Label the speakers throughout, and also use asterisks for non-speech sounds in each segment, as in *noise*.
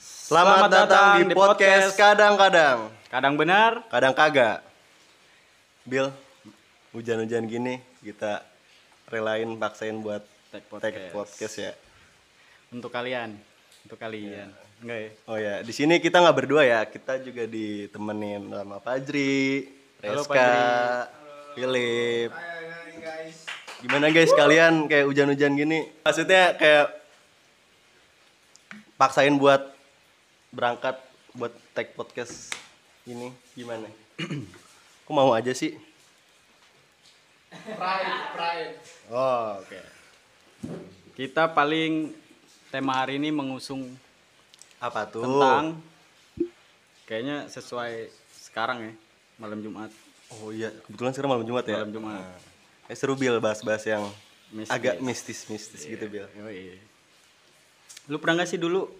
Speaker 1: Selamat, datang, di podcast kadang-kadang,
Speaker 2: Kadang benar,
Speaker 1: kadang kagak. Bill, hujan-hujan gini kita relain paksain buat
Speaker 2: Take
Speaker 1: tag
Speaker 2: podcast.
Speaker 1: podcast ya.
Speaker 2: untuk kalian, untuk kalian. Enggak ya?
Speaker 1: Oh ya, di sini kita nggak berdua ya, kita juga ditemenin sama Pajri,
Speaker 2: Halo,
Speaker 1: Reska, Philip. Gimana guys kalian kayak hujan-hujan gini? Maksudnya kayak paksain buat berangkat buat tag podcast ini
Speaker 2: *clears throat*
Speaker 1: gimana? Kok mau aja sih? Oh, oke.
Speaker 2: Kita paling tema hari ini mengusung
Speaker 1: Apa tuh?
Speaker 2: tentang kayaknya sesuai sekarang ya, malam Jumat.
Speaker 1: Oh iya, kebetulan sekarang malam Jumat ya.
Speaker 2: Malam Jumat.
Speaker 1: Eh, seru Bil bahas-bahas yang
Speaker 2: Mistis. Iya.
Speaker 1: agak mistis-mistis gitu Bil.
Speaker 2: Yoi. Lu pernah nggak sih dulu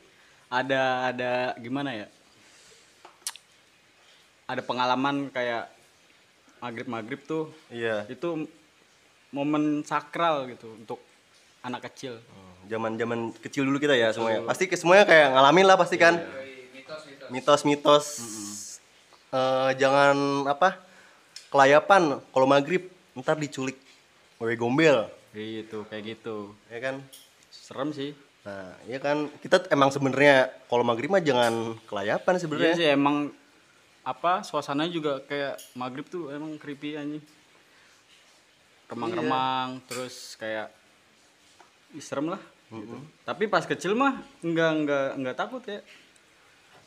Speaker 2: ada ada gimana ya? Ada pengalaman kayak maghrib maghrib tuh
Speaker 1: Iya.
Speaker 2: itu momen sakral gitu untuk anak kecil.
Speaker 1: Zaman-zaman kecil dulu kita ya semuanya. Pasti ke semuanya kayak ngalamin lah pasti kan. Mitos-mitos. Eh, jangan apa? Kelayapan kalau maghrib ntar diculik wewe gombel,
Speaker 2: Gitu, kayak gitu.
Speaker 1: ya kan?
Speaker 2: Serem sih.
Speaker 1: Nah, iya kan kita t- emang sebenarnya kalau maghrib mah jangan kelayapan
Speaker 2: Iya
Speaker 1: sebenarnya.
Speaker 2: sih emang apa suasananya juga kayak maghrib tuh emang creepy anjing.
Speaker 1: Iya.
Speaker 2: Remang-remang terus kayak ih, serem lah. Gitu. Tapi pas kecil mah nggak nggak nggak takut ya.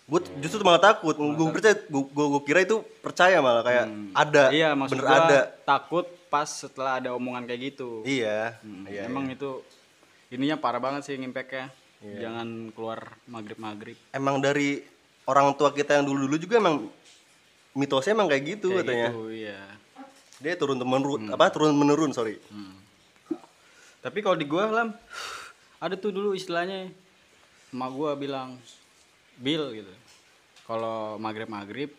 Speaker 1: Gue justru malah takut. Gue percaya, gue kira itu percaya malah kayak ada,
Speaker 2: iya maksud
Speaker 1: bener
Speaker 2: gua
Speaker 1: ada.
Speaker 2: takut pas setelah ada omongan kayak gitu.
Speaker 1: Iya, iya. Iya.
Speaker 2: emang itu ininya parah banget sih impactnya. Jangan keluar maghrib maghrib.
Speaker 1: Emang dari orang tua kita yang dulu-dulu juga emang mitosnya emang kayak gitu
Speaker 2: Kayak
Speaker 1: katanya.
Speaker 2: gitu, Hmm. iya.
Speaker 1: Dia turun menurun, apa turun menurun sorry.
Speaker 2: Hmm. Tapi kalau di gua Lam, ada tuh dulu istilahnya emak gua bilang Bill gitu. Kalau maghrib maghrib,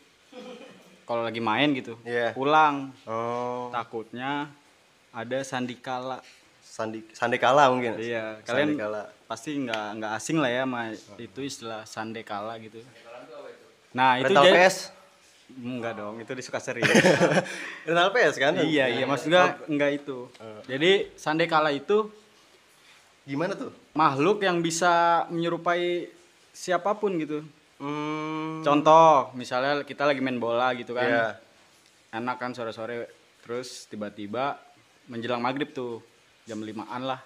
Speaker 2: kalau lagi main gitu,
Speaker 1: Iya.
Speaker 2: pulang
Speaker 1: Oh,
Speaker 2: takutnya ada sandikala.
Speaker 1: sandi sandekala mungkin.
Speaker 2: Iya, kalian
Speaker 1: Sandekala.
Speaker 2: pasti nggak nggak asing lah ya sama itu istilah sandekala gitu. Nah itu
Speaker 1: Rental
Speaker 2: jadi-
Speaker 1: PS.
Speaker 2: Enggak dong, itu di Sukaseri.
Speaker 1: *laughs* Rental PS kan?
Speaker 2: iya iya, maksudnya
Speaker 1: Oh.
Speaker 2: enggak itu. Jadi sandekala itu
Speaker 1: Gimana tuh?
Speaker 2: makhluk yang bisa menyerupai siapapun gitu.
Speaker 1: Hmm,
Speaker 2: Contoh, misalnya kita lagi main bola gitu kan.
Speaker 1: Iya.
Speaker 2: Enak kan sore-sore terus tiba-tiba menjelang maghrib tuh jam limaan lah.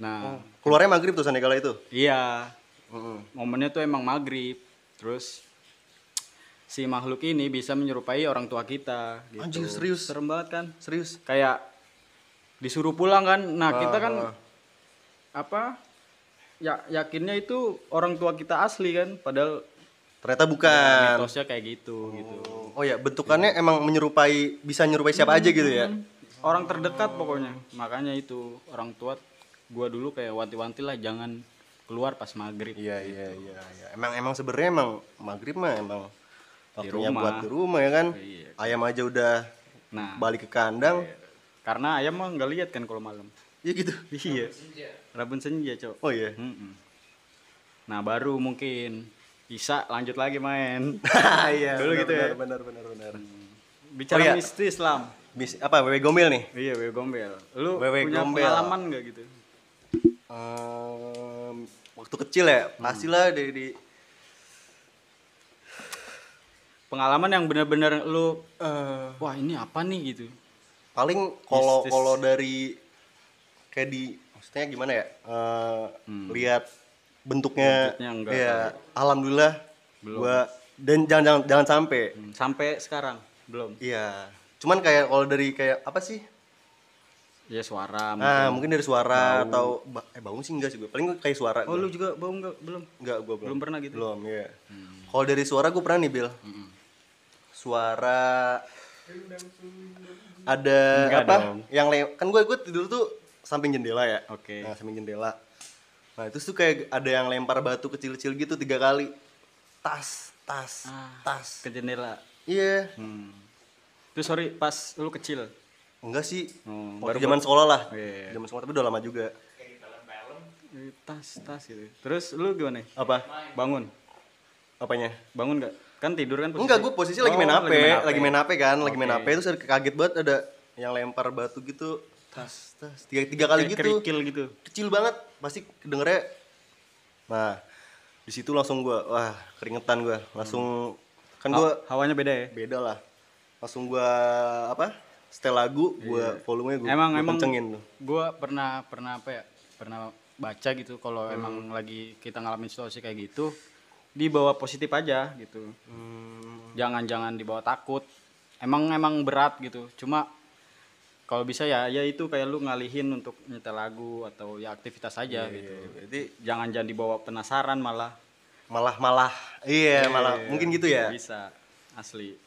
Speaker 2: Nah,
Speaker 1: keluarnya maghrib tuh sandekala itu.
Speaker 2: iya
Speaker 1: Oh. Mm-mm.
Speaker 2: momennya tuh emang maghrib. Terus si makhluk ini bisa menyerupai orang tua kita. Gitu.
Speaker 1: Anjing, serius?
Speaker 2: Serem banget kan?
Speaker 1: Serius?
Speaker 2: kayak disuruh pulang kan nah
Speaker 1: Ah,
Speaker 2: kita kan apa ya yakinnya itu orang tua kita asli kan padahal
Speaker 1: Ternyata bukan.
Speaker 2: mitosnya kayak gitu Iya, gitu Iya.
Speaker 1: Oh ya, bentukannya emang menyerupai bisa nyerupai siapa aja gitu ya.
Speaker 2: orang terdekat pokoknya makanya itu orang tua gua dulu kayak wanti-wanti lah jangan keluar pas maghrib
Speaker 1: Iya iya iya iya. Emang emang sebenarnya emang maghrib mah emang waktunya
Speaker 2: rumah.
Speaker 1: buat di rumah ya kan.
Speaker 2: Iya.
Speaker 1: Ayam aja udah
Speaker 2: nah
Speaker 1: balik ke kandang.
Speaker 2: karena ayam mah nggak lihat kan kalau malam
Speaker 1: Ya gitu.
Speaker 2: iya rabun senja cok
Speaker 1: Oh iya.
Speaker 2: Mm-mm. nah baru mungkin bisa lanjut lagi main
Speaker 1: *laughs* iya.
Speaker 2: Dulu
Speaker 1: benar,
Speaker 2: gitu ya.
Speaker 1: Benar benar benar. benar.
Speaker 2: bicara
Speaker 1: Oh, iya.
Speaker 2: mistis lam
Speaker 1: Bis- apa wewe gomil nih?
Speaker 2: Iya, wewe gombel. Lu
Speaker 1: Wewe
Speaker 2: punya
Speaker 1: gombel.
Speaker 2: pengalaman nggak gitu?
Speaker 1: Ehm, waktu kecil ya, pastilah dari di
Speaker 2: Pengalaman yang benar-benar lu
Speaker 1: eh,
Speaker 2: wah ini apa nih gitu.
Speaker 1: paling kalau
Speaker 2: Mistis.
Speaker 1: kalau dari kayak di maksudnya gimana ya? Eh, lihat bentuknya,
Speaker 2: Bentuknya enggak
Speaker 1: ya alhamdulillah gua dan jangan jangan, jangan sampai
Speaker 2: Sampai sekarang belum.
Speaker 1: Iya. Cuman kayak kalau dari kayak apa sih?
Speaker 2: Ya suara.
Speaker 1: Nah, mungkin dari suara atau ba- eh bau sih enggak sih gue. Paling kayak suara. gitu.
Speaker 2: Oh, lu juga bau nggak? Belum.
Speaker 1: Enggak gue belum.
Speaker 2: Belum pernah gitu. Hmm.
Speaker 1: Belum, iya. Kalau dari suara gue pernah nih, Bil. Suara ada
Speaker 2: Enggak
Speaker 1: apa?
Speaker 2: dong.
Speaker 1: Yang le- kan gue gue tidur tuh samping jendela ya.
Speaker 2: Oke.
Speaker 1: Nah, samping jendela. Nah, terus tuh kayak ada yang lempar batu kecil-kecil gitu tiga kali. Tas, tas,
Speaker 2: Ah.
Speaker 1: tas.
Speaker 2: Ke jendela.
Speaker 1: Iya.
Speaker 2: Hmm. Terus sorry pas lu kecil.
Speaker 1: Enggak sih.
Speaker 2: Hmm,
Speaker 1: Waktu zaman sekolah lah.
Speaker 2: Iya.
Speaker 1: Zaman sekolah tapi udah lama juga.
Speaker 2: Eh, Tas tas gitu. Terus lu gimana?
Speaker 1: Apa?
Speaker 2: Bangun.
Speaker 1: Apanya?
Speaker 2: Bangun nggak? Kan tidur kan posisi?
Speaker 1: Enggak, gue posisi lagi
Speaker 2: Oh,
Speaker 1: main HP, lagi main HP kan, lagi main
Speaker 2: Oke.
Speaker 1: HP terus kaget banget ada yang lempar batu gitu. Tas, tas. Tiga, tiga kali
Speaker 2: Kayak
Speaker 1: gitu.
Speaker 2: Kerikil gitu.
Speaker 1: Kecil banget, pasti kedengernya. Nah, di situ langsung gue, wah keringetan gue, langsung kan gue
Speaker 2: Ha- hawanya beda ya.
Speaker 1: beda lah. Langsung gue apa? Setel lagu, gue volumenya gue
Speaker 2: Emang- emang-
Speaker 1: kencengin tuh.
Speaker 2: Gue pernah pernah apa ya? Pernah baca gitu kalau emang lagi kita ngalamin situasi kayak gitu, dibawa positif aja gitu.
Speaker 1: Hmm,
Speaker 2: Jangan-jangan dibawa takut. Emang emang berat gitu. Cuma kalau bisa ya ya itu kayak lu ngalihin untuk nyetel lagu atau ya aktivitas aja gitu.
Speaker 1: Berarti
Speaker 2: Jangan jangan dibawa penasaran malah.
Speaker 1: malah malah iya malah mungkin gitu ya.
Speaker 2: Bisa asli.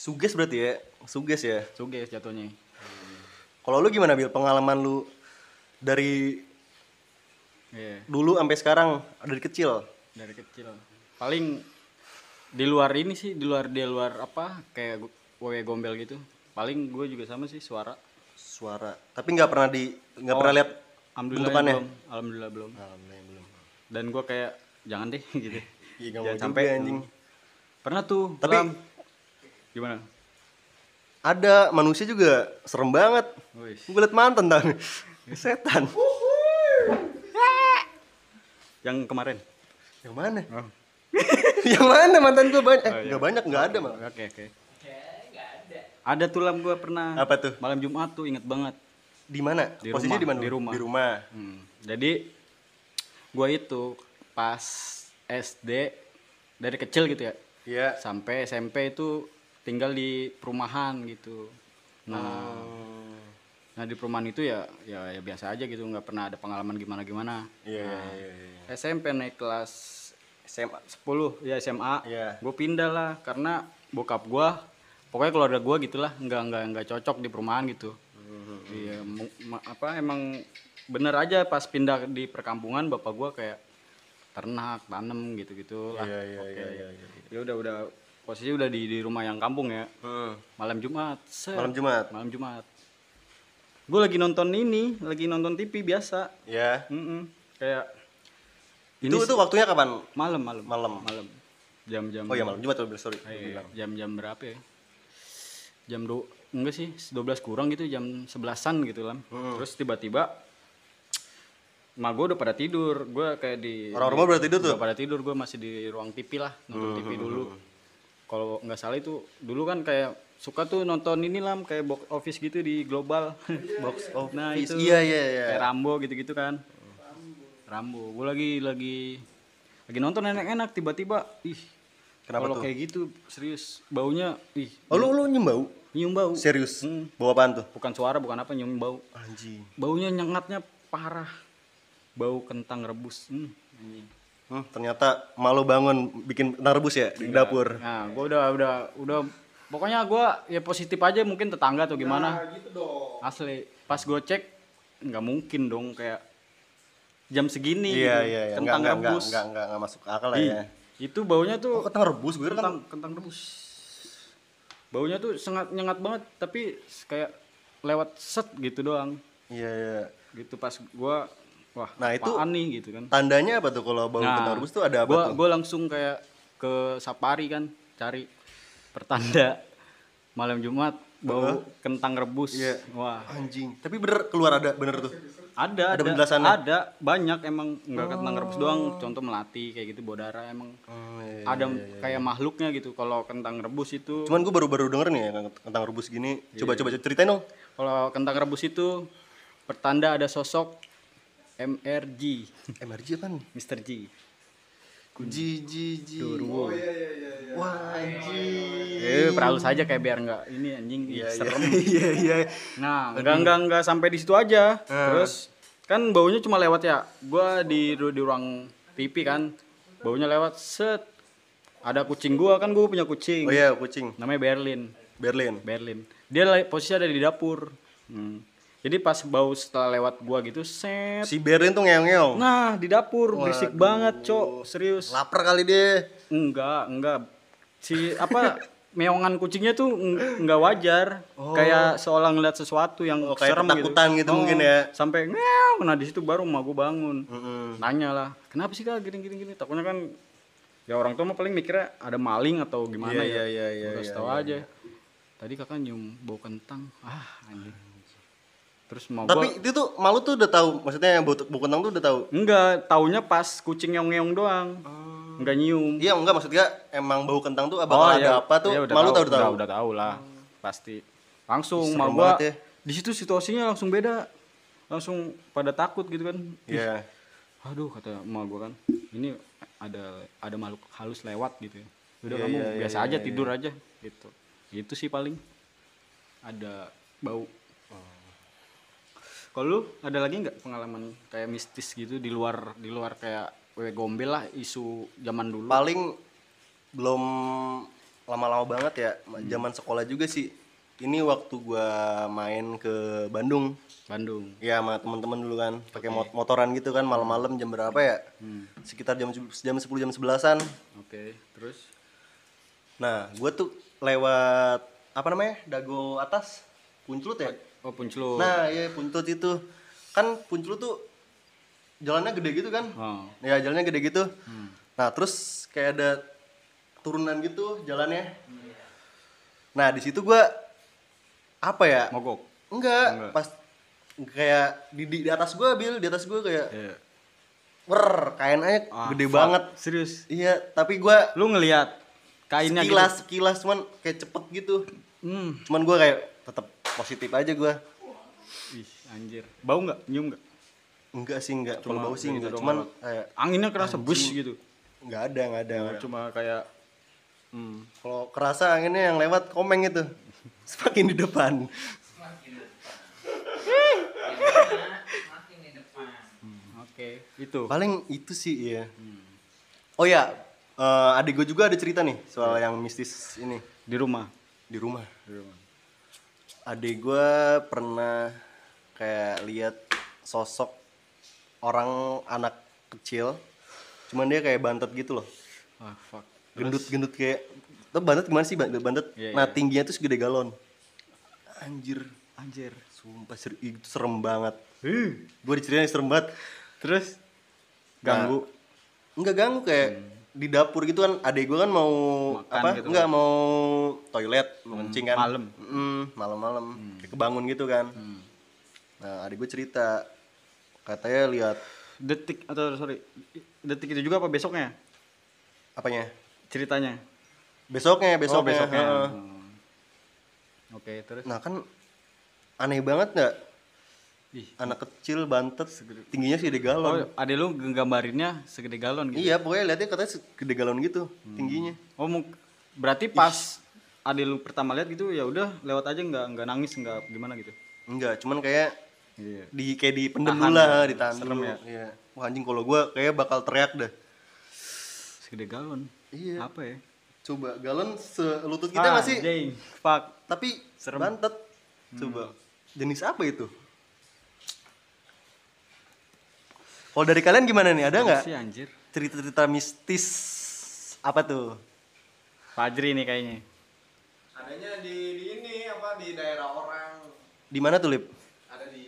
Speaker 1: Suges berarti ya, suges ya.
Speaker 2: Suges jatuhnya.
Speaker 1: Kalau lu gimana Bil pengalaman lu dari
Speaker 2: Iya.
Speaker 1: dulu sampai sekarang dari kecil?
Speaker 2: dari kecil paling di luar ini sih di luar di luar apa kayak gu- wewe gombel gitu paling gue juga sama sih suara
Speaker 1: Suara, tapi nggak pernah di nggak
Speaker 2: Oh.
Speaker 1: pernah lihat
Speaker 2: alhamdulillah
Speaker 1: Bentukannya?
Speaker 2: belum alhamdulillah belum
Speaker 1: belum.
Speaker 2: dan gue kayak jangan deh *laughs* gitu
Speaker 1: Iya nggak
Speaker 2: Jangan
Speaker 1: mau sampai
Speaker 2: sampai.
Speaker 1: anjing.
Speaker 2: pernah tuh
Speaker 1: Tapi-
Speaker 2: Lam. gimana
Speaker 1: Ada manusia juga serem banget.
Speaker 2: Wih.
Speaker 1: Gue liat mantan
Speaker 2: *laughs*
Speaker 1: tadi. Setan.
Speaker 2: yang kemarin
Speaker 1: Yang mana? *laughs*
Speaker 2: Oh.
Speaker 1: Yang mana mantan gue banyak? Eh,
Speaker 2: Oh, iya.
Speaker 1: nggak banyak, nggak ada malah.
Speaker 2: oke oke ada tuh lam gue pernah
Speaker 1: Apa tuh?
Speaker 2: malam jumat tuh inget banget
Speaker 1: Di mana?
Speaker 2: Di
Speaker 1: Posisinya
Speaker 2: rumah,
Speaker 1: di mana?
Speaker 2: di rumah.
Speaker 1: Di rumah.
Speaker 2: Hmm, Jadi gue itu pas SD dari kecil gitu ya
Speaker 1: Iya.
Speaker 2: sampai SMP itu tinggal di perumahan gitu. Nah,
Speaker 1: Hmm.
Speaker 2: nah di perumahan itu ya ya, ya biasa aja gitu nggak pernah ada pengalaman gimana gimana.
Speaker 1: Iya, iya, iya, iya.
Speaker 2: SMP naik kelas
Speaker 1: SMA.
Speaker 2: 10 ya SMA,
Speaker 1: Iya.
Speaker 2: gue pindah lah karena bokap gue pokoknya keluarga gue gitulah nggak nggak nggak cocok di perumahan gitu.
Speaker 1: Mhm.
Speaker 2: Iya, mu- ma- apa emang bener aja pas pindah di perkampungan bapak gua kayak ternak, tanam gitu-gitu lah.
Speaker 1: Iya, iya,
Speaker 2: Oke.
Speaker 1: iya, iya, iya.
Speaker 2: Ya udah udah posisi udah di di rumah yang kampung ya.
Speaker 1: Hmm.
Speaker 2: Malam Jumat. set.
Speaker 1: Malam Jumat.
Speaker 2: Malam Jumat. Gue lagi nonton ini, lagi nonton TV biasa.
Speaker 1: Ya.
Speaker 2: Mm-mm. Kayak Iya. ini
Speaker 1: Itu itu waktunya kapan?
Speaker 2: malam malam
Speaker 1: Malam.
Speaker 2: malam jam-jam
Speaker 1: Oh ya malam Jumat lo sorry.
Speaker 2: Iya, jam-jam berapa ya? Jam do enggak sih, 12 kurang gitu, jam 11-an gitu lah. Terus tiba-tiba ma gue udah pada tidur, gue kayak di
Speaker 1: Orang rumah udah tidur tuh?
Speaker 2: Udah pada tidur, gue masih di ruang TV lah, nonton TV dulu. Kalau nggak salah itu dulu kan kayak suka tuh nonton ini lah kayak box office gitu di global *laughs* box office. Nah, itu
Speaker 1: Iya iya iya.
Speaker 2: kayak Rambo gitu-gitu kan. Rambo. Gue lagi lagi lagi nonton enak-enak tiba-tiba ih
Speaker 1: Kenapa
Speaker 2: kalau
Speaker 1: tuh?
Speaker 2: kayak gitu serius baunya ih
Speaker 1: Oh lu lu nyium bau?
Speaker 2: nyium bau.
Speaker 1: Serius?
Speaker 2: Hmm.
Speaker 1: Bawa apaan tuh?
Speaker 2: Bukan suara, bukan apa nyium bau.
Speaker 1: Anjing.
Speaker 2: Baunya nyengatnya parah. Bau kentang rebus. Hmm.
Speaker 1: Hmm, ternyata malu bangun bikin kentang rebus ya di dapur.
Speaker 2: Nah, gue udah udah udah pokoknya gue ya positif aja mungkin tetangga atau
Speaker 1: Nah,
Speaker 2: gimana.
Speaker 1: gitu
Speaker 2: Asli, pas gue cek nggak mungkin dong kayak jam
Speaker 1: Iya
Speaker 2: segini gitu,
Speaker 1: iya iya. Enggak enggak
Speaker 2: kentang
Speaker 1: enggak
Speaker 2: rebus.
Speaker 1: enggak enggak enggak masuk akal lah
Speaker 2: Ih,
Speaker 1: ya.
Speaker 2: Itu baunya tuh
Speaker 1: Oh, kentang rebus gue
Speaker 2: kentang
Speaker 1: kan.
Speaker 2: kentang rebus baunya tuh sengat nyengat banget tapi kayak lewat set gitu doang
Speaker 1: Iya iya.
Speaker 2: gitu pas gua wah
Speaker 1: Nah, itu- Iya,
Speaker 2: apaan nih gitu kan
Speaker 1: Tandanya apa tuh kalau bau kentang rebus tuh ada apa
Speaker 2: Nah, gua,
Speaker 1: tuh?
Speaker 2: gua langsung kayak ke safari kan cari pertanda *laughs* malam jumat bau kentang rebus
Speaker 1: Iya.
Speaker 2: wah
Speaker 1: Anjing. Tapi bener keluar ada bener tuh.
Speaker 2: ada
Speaker 1: Ada
Speaker 2: ada
Speaker 1: penjelasannya?
Speaker 2: ada banyak emang nggak kentang rebus doang contoh melati kayak gitu Baudara emang
Speaker 1: Oh, iya.
Speaker 2: ada kayak makhluknya gitu kalau kentang rebus itu
Speaker 1: Cuman gue baru-baru denger nih ya kentang rebus gini.
Speaker 2: Iya.
Speaker 1: Coba coba ceritain dong.
Speaker 2: Kalau kentang rebus itu pertanda ada sosok MRG,
Speaker 1: MRG apa Eh, nih?
Speaker 2: Mr. G.
Speaker 1: G G G.
Speaker 2: Durwo.
Speaker 1: Wah anjing.
Speaker 2: Eh, perahu saja kayak biar nggak ini anjing ih, serem.
Speaker 1: Iya iya. *laughs*
Speaker 2: Nah, enggak enggak enggak sampai di situ aja.
Speaker 1: Ah.
Speaker 2: Terus kan baunya cuma lewat ya. Gua di di ruang TV kan. Baunya lewat set. Ada kucing gua kan gua punya kucing.
Speaker 1: Oh iya kucing.
Speaker 2: Namanya Berlin.
Speaker 1: Berlin.
Speaker 2: Berlin. Dia la- posisi ada di dapur. Hmm. Jadi pas bau setelah lewat gua gitu, set
Speaker 1: Si Berlin tuh ngeong-ngeong.
Speaker 2: Nah, di dapur berisik banget, Cok. Serius.
Speaker 1: Laper kali dia.
Speaker 2: Enggak, enggak. Si
Speaker 1: *laughs*
Speaker 2: apa meongan kucingnya tuh eng- enggak wajar. Kayak seolah ngeliat sesuatu yang
Speaker 1: Oh, kayak
Speaker 2: serem
Speaker 1: ketakutan gitu mungkin ya. Hmm.
Speaker 2: Sampai ngeong. Nah, di situ baru emak gue bangun. Nanya lah, "Kenapa sih Kak gini-gini gini?" Takutnya kan ya orang tua mah paling mikirnya ada maling atau gimana
Speaker 1: Iya,
Speaker 2: ya
Speaker 1: iya, iya, iya,
Speaker 2: Udah
Speaker 1: iya,
Speaker 2: tahu
Speaker 1: iya,
Speaker 2: aja tadi kakak nyium bau kentang ah anjing terus mau
Speaker 1: Tapi
Speaker 2: gua
Speaker 1: itu tuh malu tuh udah tahu, maksudnya yang bau, bau kentang tuh udah tahu.
Speaker 2: enggak taunya pas kucing ngeong ngeong doang enggak nyium
Speaker 1: Iya enggak maksudnya emang bau kentang tuh bakal ada
Speaker 2: ya,
Speaker 1: apa tuh
Speaker 2: ya udah
Speaker 1: malu tahu udah
Speaker 2: udah,
Speaker 1: tahu.
Speaker 2: udah tahu lah pasti langsung
Speaker 1: Serem
Speaker 2: mau gua
Speaker 1: banget ya.
Speaker 2: di situ situasinya langsung beda langsung pada takut gitu kan
Speaker 1: Iya.
Speaker 2: aduh kata emak gua kan ini ada ada makhluk halus lewat gitu ya udah
Speaker 1: Iya,
Speaker 2: kamu
Speaker 1: iya, iya,
Speaker 2: biasa
Speaker 1: iya,
Speaker 2: aja tidur aja gitu itu sih paling ada bau Oh. kalau lu ada lagi nggak pengalaman kayak mistis gitu di luar di luar kayak wewe gombel lah isu zaman dulu
Speaker 1: Paling belum lama-lama banget ya, zaman sekolah juga sih. Ini waktu gua main ke Bandung.
Speaker 2: Bandung
Speaker 1: Iya sama teman-teman dulu kan, pakai mot- motoran gitu kan malam-malam jam berapa ya? Sekitar jam se- jam 10 jam 11-an.
Speaker 2: oke terus
Speaker 1: Nah, gua tuh lewat apa namanya? Dago atas Puncelut ya?
Speaker 2: oh punclu
Speaker 1: Nah, iya Puntut itu. Kan Puncelut tuh jalannya gede gitu kan?
Speaker 2: oh.
Speaker 1: Ya jalannya gede gitu.
Speaker 2: Hmm.
Speaker 1: Nah terus kayak ada turunan gitu jalannya.
Speaker 2: Hmm.
Speaker 1: Nah di situ gue apa ya?
Speaker 2: mogok
Speaker 1: Enggak,
Speaker 2: Enggak.
Speaker 1: pas kayak di, di, di atas gue bil, di atas gue kayak
Speaker 2: Iya.
Speaker 1: wer kain aja
Speaker 2: Ah,
Speaker 1: gede
Speaker 2: fuck.
Speaker 1: banget.
Speaker 2: serius
Speaker 1: Iya, tapi gue
Speaker 2: lu ngelihat kainnya gitu?
Speaker 1: kilas kilas cuman kayak cepet gitu.
Speaker 2: hmm.
Speaker 1: Cuman gue kayak tetap positif aja gue.
Speaker 2: Ih, anjir. Bau nggak? Nyium nggak?
Speaker 1: Enggak sih enggak, cuma
Speaker 2: Cuma
Speaker 1: bau sih
Speaker 2: gitu
Speaker 1: enggak,
Speaker 2: doang
Speaker 1: cuman
Speaker 2: lewat.
Speaker 1: kayak
Speaker 2: Anginnya kerasa bus gitu.
Speaker 1: enggak ada enggak ada. enggak ada.
Speaker 2: Cuma kayak hmm.
Speaker 1: Kalau kerasa anginnya yang lewat komeng itu *laughs* semakin di depan.
Speaker 2: Oke, itu.
Speaker 1: Paling itu sih iya.
Speaker 2: Hmm.
Speaker 1: Oh ya, eh, adik gue juga ada cerita nih soal
Speaker 2: Iya.
Speaker 1: yang mistis ini
Speaker 2: Di rumah.
Speaker 1: di rumah.
Speaker 2: Di rumah.
Speaker 1: Adik gue pernah kayak lihat sosok orang anak kecil, cuman dia kayak bantet gitu loh,
Speaker 2: Ah, fuck.
Speaker 1: gendut-gendut kayak. Tuh bantet gimana sih ban- bantet?
Speaker 2: Iya,
Speaker 1: nah tingginya tuh segede galon. Anjir,
Speaker 2: Anjir.
Speaker 1: sumpah ser- itu serem banget.
Speaker 2: Ih.
Speaker 1: Gue diceritain serem banget.
Speaker 2: Terus ganggu. Nah.
Speaker 1: Enggak ganggu kayak di dapur gitu kan adek gue kan mau
Speaker 2: Hmm. Makan
Speaker 1: apa
Speaker 2: gitu Hmm,
Speaker 1: enggak mau toilet mau kencing kan
Speaker 2: malam. Hmm.
Speaker 1: Mm, malam-malam Dia kebangun gitu kan nah adek gue cerita katanya lihat
Speaker 2: Detik atau sorry, detik itu juga apa besoknya?
Speaker 1: apanya
Speaker 2: Ceritanya.
Speaker 1: besoknya
Speaker 2: Oh,
Speaker 1: besoknya,
Speaker 2: besoknya.
Speaker 1: heeh.
Speaker 2: Hmm. Oke, terus.
Speaker 1: nah kan aneh banget nggak
Speaker 2: Ih.
Speaker 1: anak kecil bantet tingginya sih gede galon
Speaker 2: Oh, ada lu gambarinnya segede galon gitu.
Speaker 1: iya pokoknya lihatnya katanya segede galon gitu tingginya
Speaker 2: Oh, mung- berarti pas ada lu pertama lihat gitu ya udah lewat aja nggak nggak nangis nggak gimana gitu.
Speaker 1: enggak cuman kayak
Speaker 2: Iya.
Speaker 1: di kayak dipendem dulu lah ditahan dulu
Speaker 2: ya.
Speaker 1: Iya. wah anjing kalau gue kayak bakal teriak dah
Speaker 2: Segede galon.
Speaker 1: iya
Speaker 2: Apa ya?
Speaker 1: coba galon selutut
Speaker 2: Ah,
Speaker 1: kita nggak sih
Speaker 2: Anjing, fuck.
Speaker 1: tapi bantet
Speaker 2: Hmm.
Speaker 1: coba jenis apa itu kalau dari kalian gimana nih ada nggak
Speaker 2: Si anjir.
Speaker 1: cerita-cerita mistis apa tuh
Speaker 2: Fajri nih kayaknya.
Speaker 3: adanya di, di ini apa di daerah orang
Speaker 1: di mana tuh lip
Speaker 3: ada di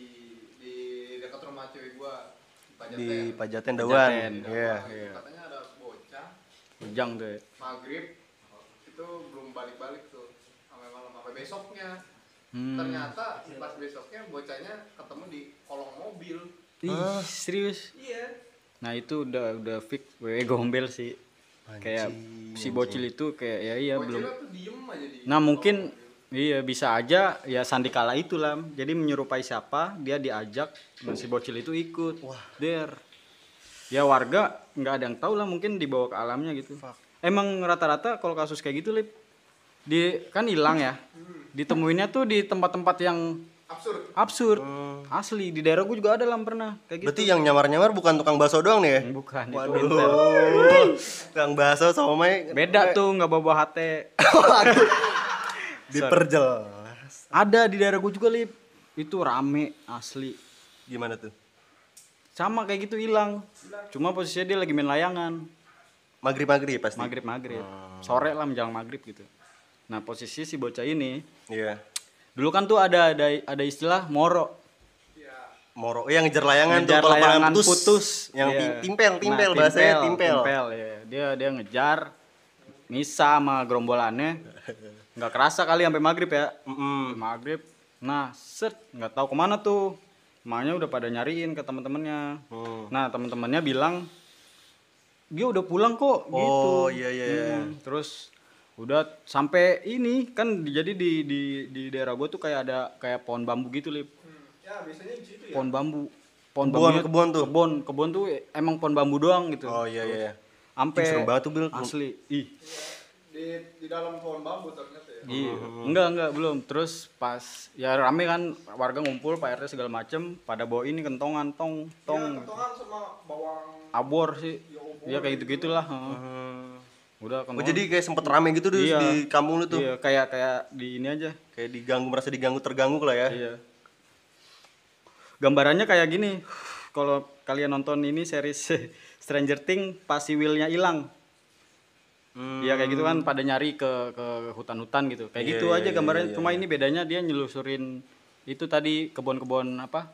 Speaker 3: di dekat rumah cewek gua di Pajaten
Speaker 1: di pajaten dawan
Speaker 2: Pajaten,
Speaker 1: iya
Speaker 3: katanya ada bocah
Speaker 2: Ujang tuh. ya.
Speaker 3: maghrib itu belum balik-balik tuh sampai malam sampai besoknya ternyata pas besoknya bocahnya ketemu di kolong mobil
Speaker 1: Ah.
Speaker 2: Ih, serius.
Speaker 3: iya
Speaker 2: Nah, itu udah udah fix wewe gombel sih. Kayak si bocil itu kayak ya iya belum.
Speaker 3: bocahnya tuh diem aja di
Speaker 2: Nah, mungkin iya bisa aja ya sandikala itu lah. Jadi menyerupai siapa, dia diajak dan si bocil itu ikut. Wah, der. Ya warga nggak ada yang tahu lah mungkin dibawa ke alamnya gitu. Emang rata-rata kalau kasus kayak gitu, Lip, di kan hilang ya. Ditemuinnya tuh di tempat-tempat yang
Speaker 3: absurd
Speaker 2: absurd asli di daerah gue juga ada lam pernah kayak gitu
Speaker 1: berarti yang nyamar-nyamar bukan tukang bakso doang nih ya
Speaker 2: bukan itu intel.
Speaker 1: Waduh, *laughs* tukang bakso sama
Speaker 2: beda tuh nggak bawa bawa HT
Speaker 1: diperjelas
Speaker 2: ada di daerah gue juga lip itu rame asli
Speaker 1: gimana tuh
Speaker 2: sama kayak gitu hilang cuma posisinya dia lagi main layangan
Speaker 1: maghrib maghrib pasti
Speaker 2: maghrib maghrib
Speaker 1: Oh.
Speaker 2: sore lah menjelang maghrib gitu nah posisi si bocah ini
Speaker 1: iya
Speaker 2: dulu kan tuh ada ada ada istilah moro
Speaker 3: ya
Speaker 1: Moro eh, yang ngejar layangan
Speaker 2: ngejar
Speaker 1: tuh kalau
Speaker 2: layangan
Speaker 1: putus,
Speaker 2: putus,
Speaker 1: yang
Speaker 2: Iya.
Speaker 1: tim- timpel
Speaker 2: Nah,
Speaker 1: timpel bahasanya timpel.
Speaker 2: iya. dia dia ngejar misa sama gerombolannya nggak kerasa kali sampai maghrib ya
Speaker 1: Mm-mm.
Speaker 2: Sampai maghrib nah set nggak tahu kemana tuh emaknya udah pada nyariin ke teman-temannya
Speaker 1: Hmm.
Speaker 2: nah teman-temannya bilang dia udah pulang kok gitu
Speaker 1: Oh, iya, iya, iya.
Speaker 2: Hmm, terus udah sampai ini kan di- jadi di di di daerah gue tuh kayak ada kayak pohon bambu gitu lip
Speaker 3: ya biasanya di situ ya
Speaker 2: pohon bambu pohon
Speaker 1: Kebun,
Speaker 2: bambunya-
Speaker 1: kebun tuh.
Speaker 2: kebun kebun tuh emang pohon bambu doang gitu
Speaker 1: Oh iya iya. iya.
Speaker 2: sampai
Speaker 1: Ih, serem banget tuh, Bil.
Speaker 2: asli ih
Speaker 3: di di dalam pohon bambu ternyata ya
Speaker 1: Oh,
Speaker 2: iya enggak enggak belum terus pas ya rame kan warga ngumpul pak rt segala macem pada bawa ini kentongan tong tong
Speaker 3: ketongan Iya, sama bawang
Speaker 2: abor sih ya kayak gitu gitulah udah
Speaker 1: Oh
Speaker 2: kentongan
Speaker 1: jadi kayak sempet rame gitu tuh
Speaker 2: Iya.
Speaker 1: di kampung lu tuh.
Speaker 2: iya kayak kayak di ini aja
Speaker 1: Kayak diganggu merasa diganggu terganggu lah ya.
Speaker 2: iya gambarannya kayak gini kalau kalian nonton ini series *laughs* Stranger Things pas si Willnya hilang
Speaker 1: Hmm.
Speaker 2: Iya kayak gitu kan pada nyari ke ke hutan-hutan gitu. Kayak gitu aja gambarnya. Cuma ini bedanya dia nyelusurin itu tadi kebun-kebun apa?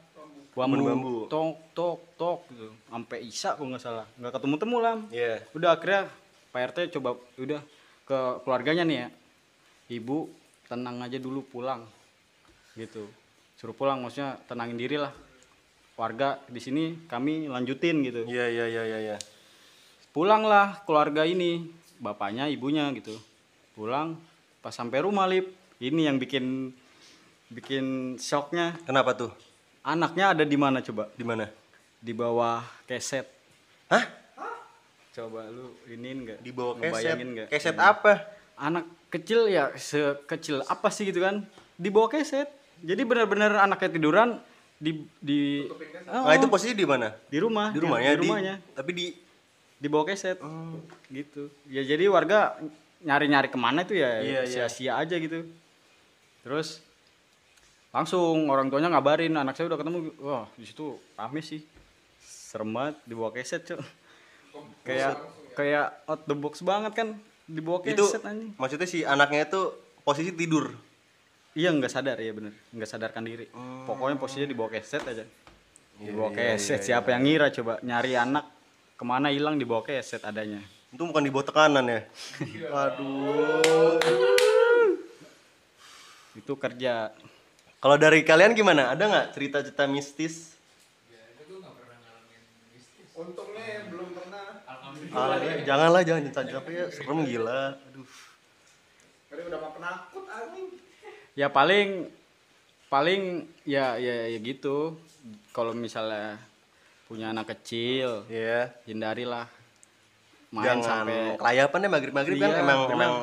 Speaker 2: Bambu,
Speaker 1: Bambu.
Speaker 2: tok tok tok gitu. Sampai Isa kalau nggak salah. Nggak ketemu-temu lah.
Speaker 1: Iya.
Speaker 2: Udah akhirnya Pak RT coba udah ke keluarganya nih ya. Ibu tenang aja dulu pulang. Gitu. Suruh pulang maksudnya tenangin diri lah. Warga di sini kami lanjutin gitu
Speaker 1: Iya iya iya iya. iya.
Speaker 2: pulanglah keluarga ini bapaknya ibunya gitu pulang pas sampai rumah lip ini yang bikin bikin shocknya
Speaker 1: Kenapa tuh?
Speaker 2: anaknya ada di mana coba
Speaker 1: Di mana?
Speaker 2: di bawah keset
Speaker 1: Hah?
Speaker 2: coba lu ini enggak
Speaker 1: Di bawah keset.
Speaker 2: enggak
Speaker 1: Keset apa?
Speaker 2: anak kecil ya sekecil apa sih gitu kan di bawah keset jadi benar-benar anaknya tiduran di di Oh,
Speaker 1: Nah, itu posisi di mana?
Speaker 2: di rumah
Speaker 1: Di Oh. rumahnya.
Speaker 2: di rumahnya
Speaker 1: tapi di
Speaker 2: di bawah keset gitu ya jadi warga nyari-nyari kemana itu ya
Speaker 1: Iya, iya.
Speaker 2: sia-sia aja gitu terus langsung orang tuanya ngabarin anak saya udah ketemu wah di situ rame sih serem banget di bawah keset cok kayak kayak out the box banget kan di bawah
Speaker 1: itu
Speaker 2: keset anjing
Speaker 1: maksudnya si anaknya itu posisi tidur.
Speaker 2: iya nggak sadar ya bener nggak sadarkan diri
Speaker 1: Oh.
Speaker 2: pokoknya posisinya di bawah keset aja
Speaker 1: Iya,
Speaker 2: di bawah keset siapa yang ngira coba nyari anak kemana hilang di bawah keset adanya
Speaker 1: Itu bukan di bawah tekanan ya.
Speaker 2: itu kerja
Speaker 1: Kalau dari kalian gimana? Ada nggak cerita-cerita mistis?
Speaker 3: untungnya belum pernah
Speaker 1: Ah, janganlah jangan cerita ya serem gila. Aduh.
Speaker 3: Ngeri udah mah penakut anjing
Speaker 2: ya paling paling ya ya, ya gitu kalau misalnya punya anak kecil
Speaker 1: Iya.
Speaker 2: hindarilah main
Speaker 1: Jangan
Speaker 2: sampai
Speaker 1: kelayapan deh maghrib-maghrib kan
Speaker 2: Iya,
Speaker 1: emang
Speaker 2: emang.
Speaker 1: emang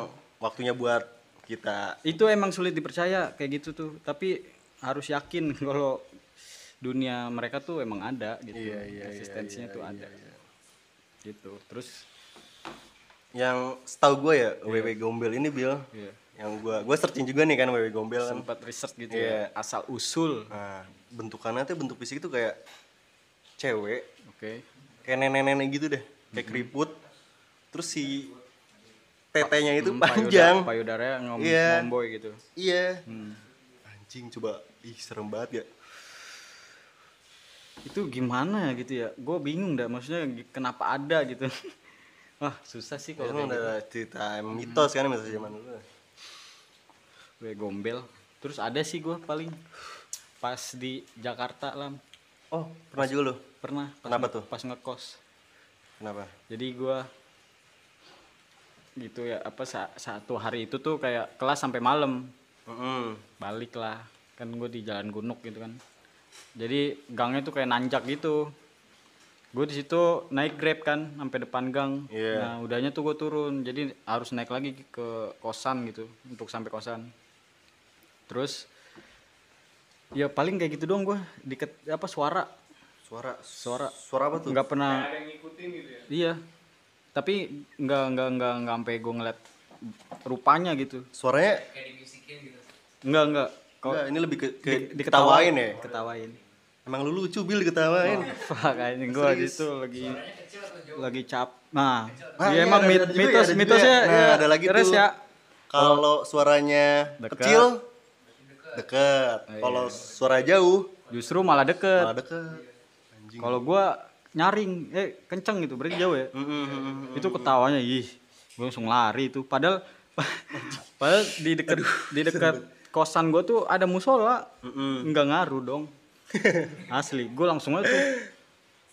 Speaker 1: waktunya buat kita
Speaker 2: itu emang sulit dipercaya kayak gitu tuh tapi harus yakin *laughs* kalau dunia mereka tuh emang ada gitu
Speaker 1: Iya, iya, iya,
Speaker 2: eksistensinya tuh ada gitu terus
Speaker 1: yang setahu gue ya WW Gombel ini Bill
Speaker 2: Iya.
Speaker 1: yang gue gue searching juga nih kan WW Gombel kan
Speaker 2: tempat riset gitu
Speaker 1: Iya.
Speaker 2: ya asal usul oke
Speaker 1: nah bentukannya tuh bentuk fisik itu kayak cewek kayak nenek-nenek gitu deh
Speaker 2: Mm-hmm.
Speaker 1: kayak keriput terus si tetenya itu
Speaker 2: Hmm,
Speaker 1: panjang
Speaker 2: payudara- payudaranya ngom
Speaker 1: Iya.
Speaker 2: ngomboy gitu
Speaker 1: iya
Speaker 2: Mm.
Speaker 1: anjing coba ih serem banget ya
Speaker 2: itu gimana ya gitu ya gue bingung dah maksudnya gi- kenapa ada gitu *laughs* wah susah sih
Speaker 1: itu
Speaker 2: kalau
Speaker 1: emang
Speaker 2: Oh, kayak gitu. Mm.
Speaker 1: ada cerita mitos kan mitos zaman dulu
Speaker 2: gue gombel terus ada sih gue paling pas di Jakarta lam
Speaker 1: oh pernah juga lo
Speaker 2: pernah pas
Speaker 1: Kenapa
Speaker 2: nge-
Speaker 1: tuh?
Speaker 2: pas ngekos
Speaker 1: kenapa
Speaker 2: jadi gue gitu ya apa sa- satu hari itu tuh kayak kelas sampai malam
Speaker 1: Mm-mm.
Speaker 2: balik lah kan gue di jalan gunung gitu kan jadi gangnya tuh kayak nanjak gitu gue di situ naik grab kan sampai depan gang
Speaker 1: Iya.
Speaker 2: nah udahnya tuh gue turun jadi harus naik lagi ke kosan gitu untuk sampai kosan terus ya paling kayak gitu doang gue diket apa suara
Speaker 1: suara
Speaker 2: Suara.
Speaker 1: suara apa tuh
Speaker 2: nggak pernah
Speaker 3: ada yang ngikutin gitu ya
Speaker 2: iya tapi nggak nggak nggak nggak sampai gue ngeliat rupanya gitu
Speaker 1: suaranya
Speaker 2: nggak nggak kok
Speaker 1: enggak, ini lebih ke, ke
Speaker 2: di-
Speaker 1: diketawain ya
Speaker 2: ketawain
Speaker 1: emang lu lucu bil diketawain
Speaker 2: Oh. Fuck anjing gua di situ lagi lagi cap. Nah,
Speaker 1: Ah, iya,
Speaker 2: iya emang
Speaker 1: ada-
Speaker 2: mit-
Speaker 1: ada juga ya,
Speaker 2: mitos
Speaker 1: ada juga
Speaker 2: mitosnya
Speaker 1: ya. Nah,
Speaker 2: ya,
Speaker 1: ada lagi
Speaker 2: beres
Speaker 1: tuh.
Speaker 2: ya.
Speaker 1: kalau suaranya
Speaker 2: Dekat. Oh, iya.
Speaker 1: kecil dekat kalau suara jauh
Speaker 2: Justru malah deket.
Speaker 1: malah deket anjing
Speaker 2: Kalau gua nyaring, eh kenceng gitu, berarti jauh ya.
Speaker 1: Mm, mm, mm, mm.
Speaker 2: Itu ketawanya, ih, gua langsung lari itu. Padahal, *laughs* padahal di deket, di deket kosan gua tuh ada musola,
Speaker 1: Mm-mm.
Speaker 2: nggak ngaruh
Speaker 1: *laughs*
Speaker 2: dong. Asli, gua langsung aja tuh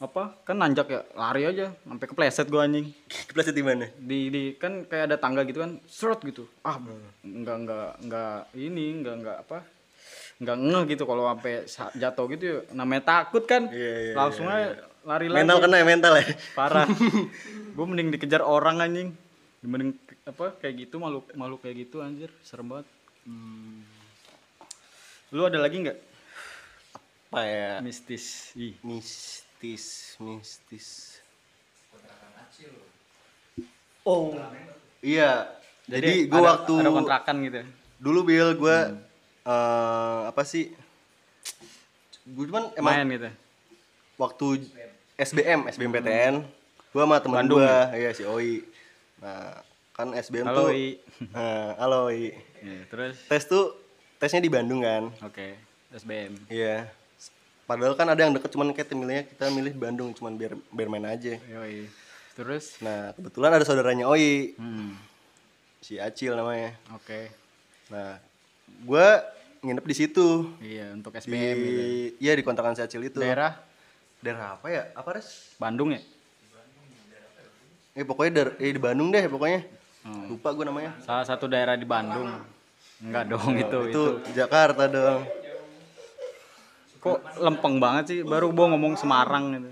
Speaker 2: apa kan nanjak ya lari aja sampai kepleset gua anjing
Speaker 1: *laughs* kepleset di mana
Speaker 2: di di kan kayak ada tangga gitu kan serot gitu ah
Speaker 1: Hmm.
Speaker 2: nggak nggak nggak ini nggak nggak apa nggak ngeh gitu kalau sampai sa- jatuh gitu ya, namanya takut kan
Speaker 1: Iya, iya,
Speaker 2: langsung aja lari
Speaker 1: mental
Speaker 2: lagi
Speaker 1: kena ya mental ya *laughs*
Speaker 2: parah gue mending dikejar orang anjing mending apa kayak gitu makhluk makhluk kayak gitu anjir serem banget
Speaker 1: Hmm.
Speaker 2: lu ada lagi nggak
Speaker 1: apa ya
Speaker 2: mistis ih
Speaker 1: mistis mistis oh iya jadi, gua
Speaker 2: ada-
Speaker 1: waktu
Speaker 2: ada Hmm. kontrakan gitu ya.
Speaker 1: dulu Bill gue eh, apa sih gue cuman emang
Speaker 2: main gitu
Speaker 1: waktu SBM SBMPTN gue sama teman
Speaker 2: Bandung
Speaker 1: gue iya si Oi nah kan SBM
Speaker 2: halo
Speaker 1: tuh
Speaker 2: I.
Speaker 1: *laughs* eh, halo Oi
Speaker 2: Iya, terus
Speaker 1: tes tuh tesnya di Bandung kan
Speaker 2: Oke, SBM.
Speaker 1: iya padahal kan ada yang deket cuman kayak milihnya kita milih Bandung cuman biar biar main aja
Speaker 2: Yoi. Terus?
Speaker 1: nah kebetulan ada saudaranya Oi
Speaker 2: Hmm.
Speaker 1: si Acil namanya
Speaker 2: Oke.
Speaker 1: nah gue nginep di situ
Speaker 2: Iya,
Speaker 1: di
Speaker 2: untuk SBM gitu.
Speaker 1: iya di kontrakan si Acil itu
Speaker 2: Daerah
Speaker 1: daerah apa ya apa res
Speaker 2: Bandung ya?
Speaker 1: eh pokoknya daer- eh, di Bandung deh pokoknya lupa gue namanya
Speaker 2: Salah satu daerah di Bandung. Enggak dong itu,
Speaker 1: itu,
Speaker 2: itu.
Speaker 1: Jakarta dong
Speaker 2: Kok lempeng banget sih baru gua ngomong Semarang gitu.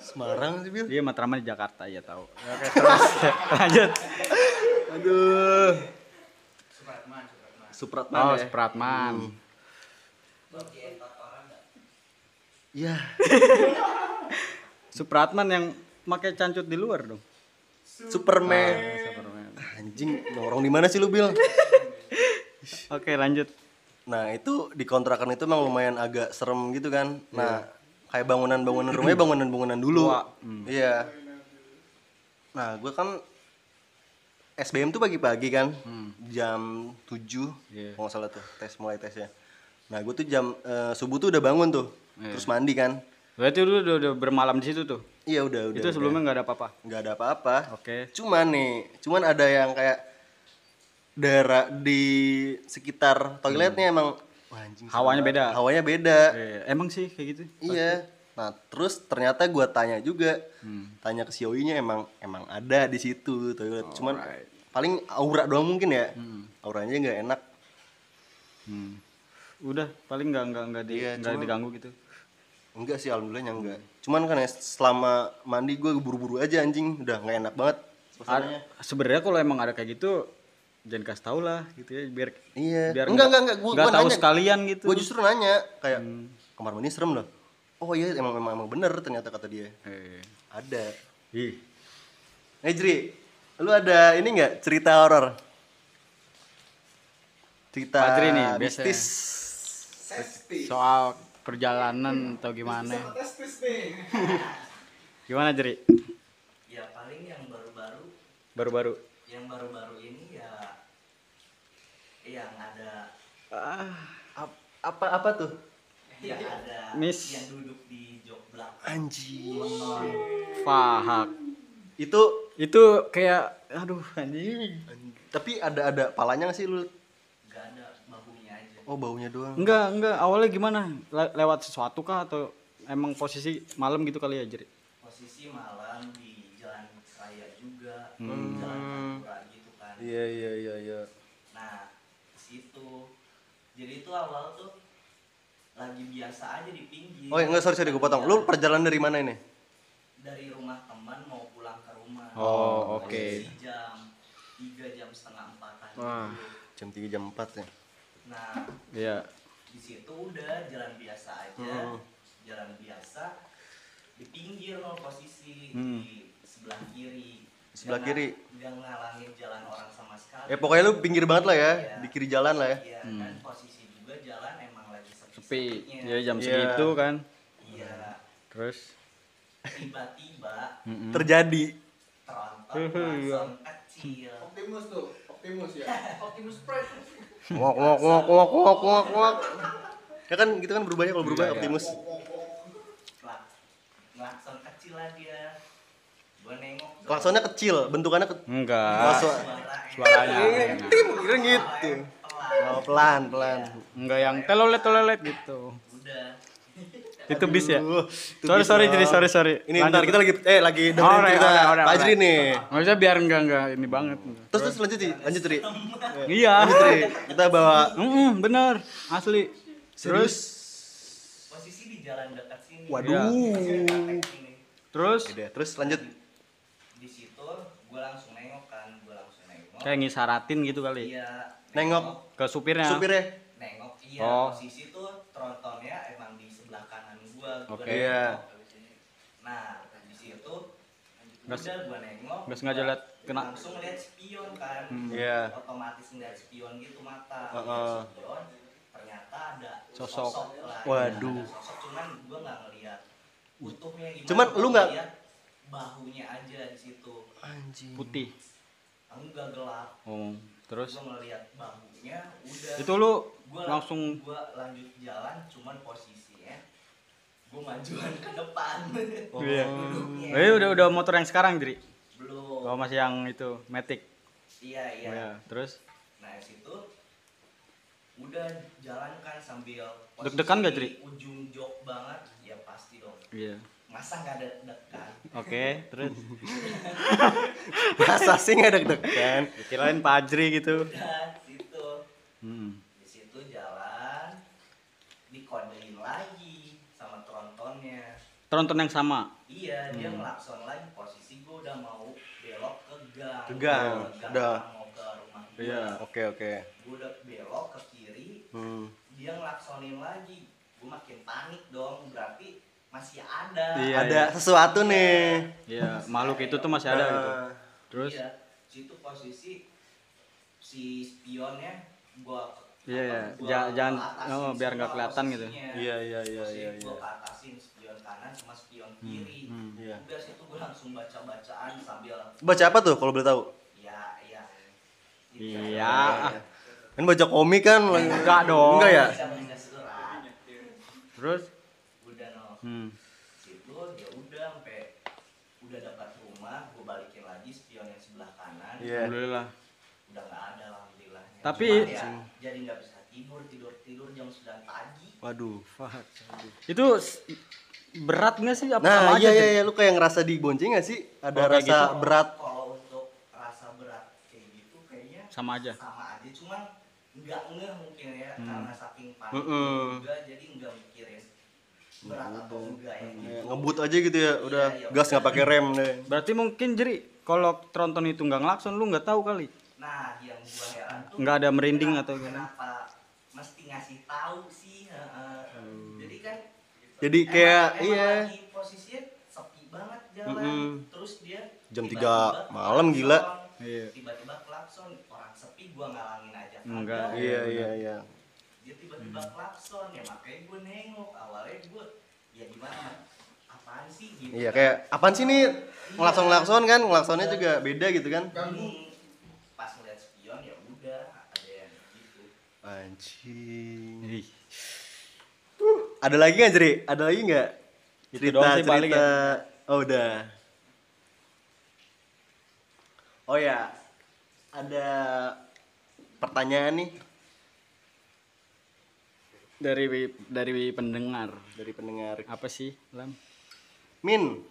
Speaker 1: Semarang sih Bil
Speaker 2: Dia Iya, Matraman di Jakarta ya tahu. Oke, terus *laughs* lanjut.
Speaker 1: aduh Supratman
Speaker 2: Oh,
Speaker 1: ya
Speaker 2: Supratman.
Speaker 1: Iya.
Speaker 2: Supratman yang pakai cancut di luar dong.
Speaker 1: *laughs* Ah, iya, Superman
Speaker 2: Superman.
Speaker 1: anjing nongkrong di mana sih lu Bil
Speaker 2: Oke, lanjut.
Speaker 1: nah itu di kontrakan itu emang lumayan agak serem gitu kan nah kayak bangunan-bangunan *clears throat* rumahnya bangunan-bangunan dulu iya nah gue kan SBM tuh pagi-pagi kan jam 7
Speaker 2: Iya.
Speaker 1: kalau nggak salah tuh tes mulai tesnya nah gue tuh jam eh, subuh tuh udah bangun tuh terus mandi kan
Speaker 2: Berarti lu udah, udah bermalam di situ tuh.
Speaker 1: iya udah udah
Speaker 2: itu sebelumnya nggak ada apa-apa.
Speaker 1: nggak ada apa-apa
Speaker 2: Oke.
Speaker 1: cuman nih cuman ada yang kayak daerah di sekitar
Speaker 2: Hmm.
Speaker 1: toiletnya emang wah anjing
Speaker 2: Hawanya beda.
Speaker 1: hawanya beda
Speaker 2: Eh, emang sih kayak gitu.
Speaker 1: iya nah terus ternyata gua tanya juga
Speaker 2: Hmm.
Speaker 1: tanya ke si Yoi-nya emang emang ada di situ toilet cuman paling aura doang mungkin ya auranya nggak enak
Speaker 2: Hmm. Udah, paling nggak nggak nggak di, nggak diganggu gitu.
Speaker 1: enggak sih alhamdulillahnya
Speaker 2: Hmm.
Speaker 1: enggak cuman kan ya selama mandi gua buru-buru aja anjing udah nggak enak banget
Speaker 2: Ah,
Speaker 1: suasananya
Speaker 2: Ad- Sebenarnya kalau emang ada kayak gitu, jangan kasih tau lah gitu ya biar
Speaker 1: Iya.
Speaker 2: biar
Speaker 1: Enggak, enggak, enggak. Gua-
Speaker 2: nggak
Speaker 1: gua
Speaker 2: tahu
Speaker 1: nanya.
Speaker 2: sekalian gitu. Hmm.
Speaker 1: gue justru nanya kayak kamar mandi serem loh oh iya emang emang, emang bener ternyata kata dia
Speaker 2: Eh,
Speaker 1: ada
Speaker 2: Ih,
Speaker 1: eh Jri lu ada ini nggak cerita horor cerita
Speaker 2: Pak Jri nih, biasanya.
Speaker 1: mistis
Speaker 2: soal perjalanan atau gimana? *laughs* gimana Jeri?
Speaker 4: ya paling yang baru-baru
Speaker 2: Baru-baru.
Speaker 4: yang baru-baru ini ya yang ada
Speaker 1: Ap- apa apa tuh *laughs*
Speaker 4: yang ada
Speaker 2: Miss.
Speaker 4: yang duduk di jok belakang
Speaker 1: anji
Speaker 2: Fahak.
Speaker 1: itu
Speaker 2: Itu kayak, aduh anjing.
Speaker 1: tapi ada ada palanya nggak sih lu
Speaker 4: nggak ada babunya aja
Speaker 1: oh baunya doang
Speaker 2: Enggak, enggak. Awalnya gimana? Le- lewat sesuatu kah atau emang posisi malam gitu kali ya Jeri?
Speaker 4: posisi malam di jalan raya juga
Speaker 1: Hmm.
Speaker 4: jalan Pantura gitu kan
Speaker 1: iya iya iya iya
Speaker 4: nah ke situ jadi itu awal tuh lagi biasa aja di pinggir
Speaker 1: oh enggak sorry sorry gue potong lu perjalanan dari mana ini
Speaker 4: dari rumah teman mau pulang ke rumah
Speaker 2: Oh, oke.
Speaker 4: Posisi jam tiga jam setengah empatan
Speaker 2: Wah.
Speaker 4: gitu.
Speaker 1: jam 3 jam 4 ya
Speaker 4: nah
Speaker 2: Iya.
Speaker 4: di situ udah jalan biasa aja jalan biasa di pinggir loh posisi di sebelah kiri
Speaker 1: Di sebelah
Speaker 4: Nggak-
Speaker 1: kiri.
Speaker 4: nggak ngalangin jalan orang sama sekali
Speaker 1: eh pokoknya lu pinggir banget lah ya di kiri jalan lah ya
Speaker 4: Iya, dan posisi juga jalan emang lagi sepi
Speaker 2: Sepi. Ya jam
Speaker 1: Iya.
Speaker 2: segitu kan.
Speaker 4: iya
Speaker 2: Terus
Speaker 4: tiba-tiba
Speaker 1: Hmm. terjadi
Speaker 4: terontok langsung kecil
Speaker 3: Optimus *laughs* tuh, Optimus ya.
Speaker 1: Wok wok wok wok wok wok wok. Ya kan gitu kan berubahnya kalau berubah
Speaker 2: Iya, iya.
Speaker 1: Optimus.
Speaker 4: Klak- klakson kecil lah dia gua nengok tuh,
Speaker 1: Klaksonnya kecil, bentukannya ke
Speaker 2: Enggak.
Speaker 1: Masuk. Iya,
Speaker 4: suaranya
Speaker 2: Suaranya enak.
Speaker 1: kira gitu. Oh, pelan, pelan.
Speaker 2: enggak yang telolet telolet gitu.
Speaker 4: udah
Speaker 2: Itu bis ya.
Speaker 1: Aduh, itu
Speaker 2: Sorry
Speaker 1: bis
Speaker 2: sorry
Speaker 1: dong.
Speaker 2: jadi sorry sorry.
Speaker 1: gitu Ini bentar, kita lagi eh lagi dengerin
Speaker 2: Alright,
Speaker 1: cerita
Speaker 2: alright, alright,
Speaker 1: Pak Ajri
Speaker 2: alright.
Speaker 1: nih.
Speaker 2: Maksudnya biar enggak enggak ini banget.
Speaker 1: Terus terus lanjut Ji, lanjut Tri.
Speaker 2: Iya.
Speaker 1: Lanjut Tri. Kita bawa
Speaker 2: Mm-mm, bener asli. Terus
Speaker 4: posisi di jalan dekat sini
Speaker 1: Waduh.
Speaker 4: Dekat sini.
Speaker 2: Iya. terus
Speaker 1: Udah, terus lanjut.
Speaker 4: di situ gua langsung nengok kan gua langsung nengok
Speaker 2: kayak ngisaratin gitu kali
Speaker 4: iya
Speaker 1: Eh, Nengok.
Speaker 2: ke supirnya.
Speaker 1: Supirnya. *laughs*
Speaker 4: nengok iya
Speaker 2: Oh.
Speaker 4: posisi tuh trontonnya emang di sebelah kanan gua gua
Speaker 2: Oke.
Speaker 4: nengok.
Speaker 1: Iya.
Speaker 4: nah di situ
Speaker 2: Nggak
Speaker 4: udah gua nengok
Speaker 2: nggak sengaja liat kena.
Speaker 4: langsung lihat spion kan
Speaker 1: Iya.
Speaker 4: otomatis ngeliat spion gitu mata
Speaker 1: Heeh.
Speaker 4: spion ternyata ada
Speaker 2: Sosok.
Speaker 4: sosok, lah. iya,
Speaker 1: Waduh.
Speaker 4: Ada sosok cuman gua nggak ngeliat utuhnya gimana
Speaker 1: Cuman lu
Speaker 4: gua
Speaker 1: nggak-
Speaker 4: ngeliat bahunya aja di situ
Speaker 1: Anjing.
Speaker 2: putih.
Speaker 4: enggak gelap
Speaker 2: Oh, terus
Speaker 4: gua ngeliat bahunya udah
Speaker 2: itu lu
Speaker 4: gua
Speaker 2: langsung
Speaker 4: gua lanjut jalan cuman posisinya gua majuan ke depan Oh.
Speaker 2: Iya.
Speaker 4: *laughs* Duduknya.
Speaker 2: Eh udah udah motor yang sekarang, Dri.
Speaker 4: belum
Speaker 2: Kalau masih yang itu Matic.
Speaker 4: iya iya
Speaker 2: Iya, terus
Speaker 4: nah di situ udah jalankan sambil
Speaker 2: Deg-degan nggak, Dri?
Speaker 4: posisi ujung jok banget ya pasti dong
Speaker 2: iya.
Speaker 4: masa nggak ada dekan
Speaker 2: Oke, terus
Speaker 1: Masa sih nggak ya, deg-degan?
Speaker 2: kirain Pak Ajri gitu.
Speaker 4: *laughs* udah situ
Speaker 2: Hmm.
Speaker 4: di situ jalan dikodein lagi sama trontonnya
Speaker 2: Tronton yang sama.
Speaker 4: Iya, dia
Speaker 2: Hmm.
Speaker 4: ngelakson lagi posisi gue udah mau belok ke gang.
Speaker 1: Ke gang, udah.
Speaker 4: Mau ke rumah gue.
Speaker 2: Iya.
Speaker 1: Oke, oke.
Speaker 4: Gue udah belok ke kiri,
Speaker 1: Hmm.
Speaker 4: dia ngelaksonin lagi. Gue makin panik dong, berarti masih ada.
Speaker 2: Iya,
Speaker 1: Ada sesuatu nih. Eh.
Speaker 2: Iya, makhluk itu tuh masih ada gitu. Terus
Speaker 4: Iya, situ posisi si spionnya gue
Speaker 2: Iya, iya. Ja- jangan- oh, biar nggak kelihatan gitu.
Speaker 1: Iya, iya, iya, iya, iya.
Speaker 4: Gue ke atasin spion kanan sama spion
Speaker 2: Hmm,
Speaker 4: kiri.
Speaker 1: Iya.
Speaker 4: Udah situ gue langsung baca-bacaan sambil
Speaker 1: Baca apa tuh kalau boleh tahu?
Speaker 4: Ya, ya.
Speaker 2: iya. ah.
Speaker 1: Kan baca komik kan.
Speaker 2: Enggak dong. Iya.
Speaker 1: Enggak ya?
Speaker 4: Bisa baca surat.
Speaker 2: Terus
Speaker 4: Udah no.
Speaker 2: hmm.
Speaker 4: Situ ya udah sampai udah dekat rumah, gue balikin lagi spion yang sebelah kanan.
Speaker 1: Iya.
Speaker 2: Ya. Alhamdulillah.
Speaker 4: Udah nggak ada alhamdulillahnya.
Speaker 2: Tapi-
Speaker 4: Cuman ya, jadi nggak bisa tidur tidur tidur jam 9 pagi.
Speaker 1: Waduh.
Speaker 2: Itu s- berat nggak sih apa sama
Speaker 1: Nah, iya
Speaker 2: aja?
Speaker 1: iya
Speaker 2: Dri?
Speaker 1: iya lu kayak ngerasa dibonceng gak sih?
Speaker 2: Oh,
Speaker 1: Ada
Speaker 2: kayak
Speaker 1: rasa
Speaker 2: gitu.
Speaker 1: berat.
Speaker 4: Kalau untuk rasa berat kayak gitu kayaknya
Speaker 2: Sama aja. Hmm.
Speaker 4: sama aja, cuman nggak ngeh mungkin ya karena saking panik
Speaker 1: Mm-mm.
Speaker 4: juga jadi nggak mikirin berat atau enggak ya.
Speaker 1: Iya, Ngebut aja gitu ya, udah
Speaker 4: Iya, iya,
Speaker 1: gas nggak pakai rem deh.
Speaker 2: Berarti mungkin Jeri kalau tronton itu nggak ngelakson lu nggak tahu kali.
Speaker 4: Nah, yang gua heran tuh
Speaker 2: Nggak ada merinding
Speaker 4: kenapa-
Speaker 2: atau gimana?
Speaker 4: Kenapa mesti ngasih tahu sih? heeh.
Speaker 1: Hmm.
Speaker 4: Jadi kan
Speaker 1: Jadi kayak
Speaker 4: emang
Speaker 1: iya.
Speaker 4: lagi posisinya sepi banget jalan.
Speaker 1: Mm-mm.
Speaker 4: Terus dia
Speaker 1: Jam
Speaker 4: tiba-tiba
Speaker 1: 3 malam, gila.
Speaker 4: klakson.
Speaker 2: Iya.
Speaker 4: Tiba-tiba klakson, orang sepi gua ngalangin aja kagak.
Speaker 2: Enggak,
Speaker 1: Iya iya iya.
Speaker 4: Dia tiba-tiba
Speaker 1: Hmm.
Speaker 4: klakson ya makanya gua nengok awalnya gua ya gimana? Apaan sih gitu?
Speaker 1: Iya kayak apaan sih nih ngelakson-ngelakson kan, ngelaksonnya juga beda gitu kan.
Speaker 4: Hmm. Pas ngeliat spion ya udah ada yang gitu.
Speaker 1: Anjing.
Speaker 2: Ih,
Speaker 1: Ada lagi nggak Jeri? Ada lagi nggak?
Speaker 2: Itu
Speaker 1: Cerita
Speaker 2: Gitu doang sih paling ya.
Speaker 1: cerita. Oh udah. Oh ya, ada pertanyaan nih
Speaker 2: Dari dari pendengar.
Speaker 1: dari pendengar.
Speaker 2: Apa sih, Lam?
Speaker 1: Min,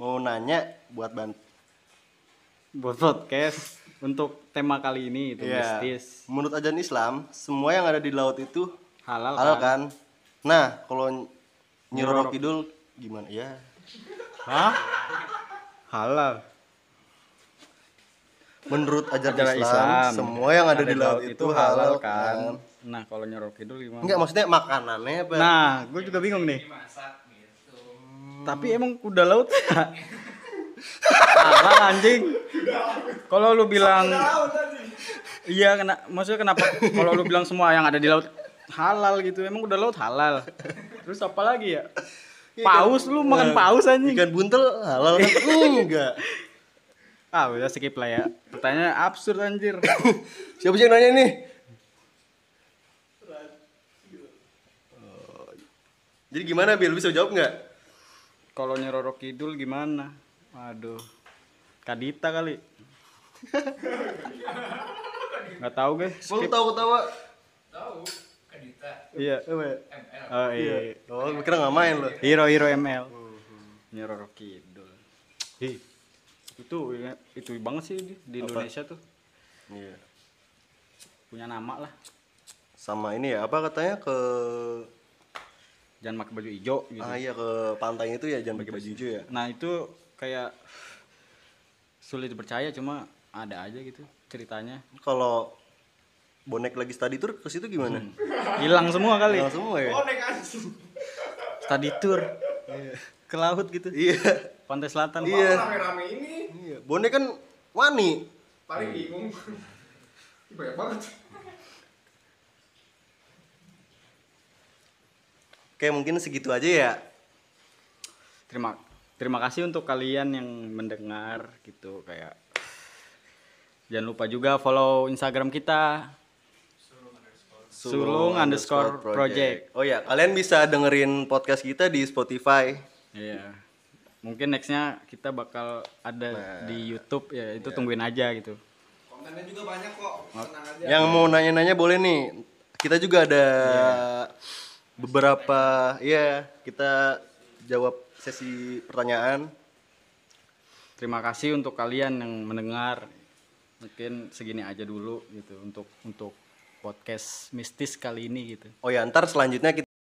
Speaker 1: mau nanya buat ban.
Speaker 2: Buat podcast untuk tema kali ini itu
Speaker 1: Iya.
Speaker 2: mistis.
Speaker 1: Menurut ajaran Islam, semua yang ada di laut itu
Speaker 2: Halal,
Speaker 1: halal
Speaker 2: kan?
Speaker 1: kan? Nah, kalau
Speaker 2: Nyiroro
Speaker 1: Nyiroro Kidul gimana? Ya.
Speaker 2: Hah? Halal.
Speaker 1: Menurut ajaran
Speaker 2: Ajaran
Speaker 1: Islam,
Speaker 2: Islam.
Speaker 1: semua yang ada, di laut itu halal kan?
Speaker 2: Nah, kalau nyorok kidul gimana?
Speaker 1: Enggak, maksudnya makanannya apa?
Speaker 2: Nah, gue juga bingung nih.
Speaker 4: Masak gitu.
Speaker 2: Tapi emang kuda laut ya? halal anjing. Kalau lu bilang Iya, kena maksudnya kenapa kalau lu bilang semua yang ada di laut halal gitu. Emang kuda laut halal. Terus apa lagi ya?
Speaker 1: Iya,
Speaker 2: Paus
Speaker 1: kan?
Speaker 2: lu makan
Speaker 1: Nah.
Speaker 2: paus anjing.
Speaker 1: Ikan buntel halal
Speaker 2: *laughs*
Speaker 1: kan? Enggak. *laughs*
Speaker 2: Ah, udah skip lah ya. Pertanyaan absurd anjir.
Speaker 1: Siapa sih yang nanya nih? Oh, Jadi gimana Bil? Lu bisa jawab nggak?
Speaker 2: Kalau nyerorok kidul gimana? Waduh. Kadita kali. Nggak tahu gue.
Speaker 1: Mau lu
Speaker 2: Skip.
Speaker 1: tahu ketawa?
Speaker 3: Tahu, Kadita,
Speaker 2: Iya.
Speaker 3: ML.
Speaker 2: Oh iya.
Speaker 1: Oh, lu kira nggak main lu.
Speaker 2: Hero Hero ML. Nyerorok kidul. Ih. Itu ya, itu banget sih di, di
Speaker 1: Apa?
Speaker 2: Indonesia tuh
Speaker 1: Iya.
Speaker 2: punya nama lah.
Speaker 1: Sama ini ya, apa katanya ke
Speaker 2: Jangan pakai baju hijau gitu.
Speaker 1: ah iya ke pantainya itu ya jangan pakai baju hijau ya.
Speaker 2: Nah itu kayak sulit dipercaya cuma ada aja gitu ceritanya.
Speaker 1: Kalau bonek lagi study tour ke situ gimana?
Speaker 2: Hmm. Hilang semua kali. Oh,
Speaker 1: Hilang semua ya?
Speaker 3: Oh, naik anjing.
Speaker 2: Study tour ke laut gitu.
Speaker 1: Iya.
Speaker 2: Pantai Selatan.
Speaker 1: Iya.
Speaker 3: Kok Rame-rame ini
Speaker 1: Iya, bonek kan wani.
Speaker 3: paling bingung. Ih, Banyak banget.
Speaker 1: Oke, mungkin segitu aja ya.
Speaker 2: Terima terima kasih untuk kalian yang mendengar gitu kayak jangan lupa juga follow Instagram kita Sulung underscore project.
Speaker 1: Oh ya, kalian bisa dengerin podcast kita di Spotify.
Speaker 2: Iya. Mungkin nextnya kita bakal ada di YouTube ya itu tungguin aja gitu.
Speaker 3: Kontennya juga banyak kok. Tenang aja.
Speaker 1: Yang mau nanya-nanya boleh nih. Kita juga ada
Speaker 2: Iya.
Speaker 1: beberapa ya, kita jawab sesi pertanyaan.
Speaker 2: Terima kasih untuk kalian yang mendengar. Mungkin segini aja dulu gitu untuk untuk podcast mistis kali ini gitu.
Speaker 1: Oh ya, ntar selanjutnya kita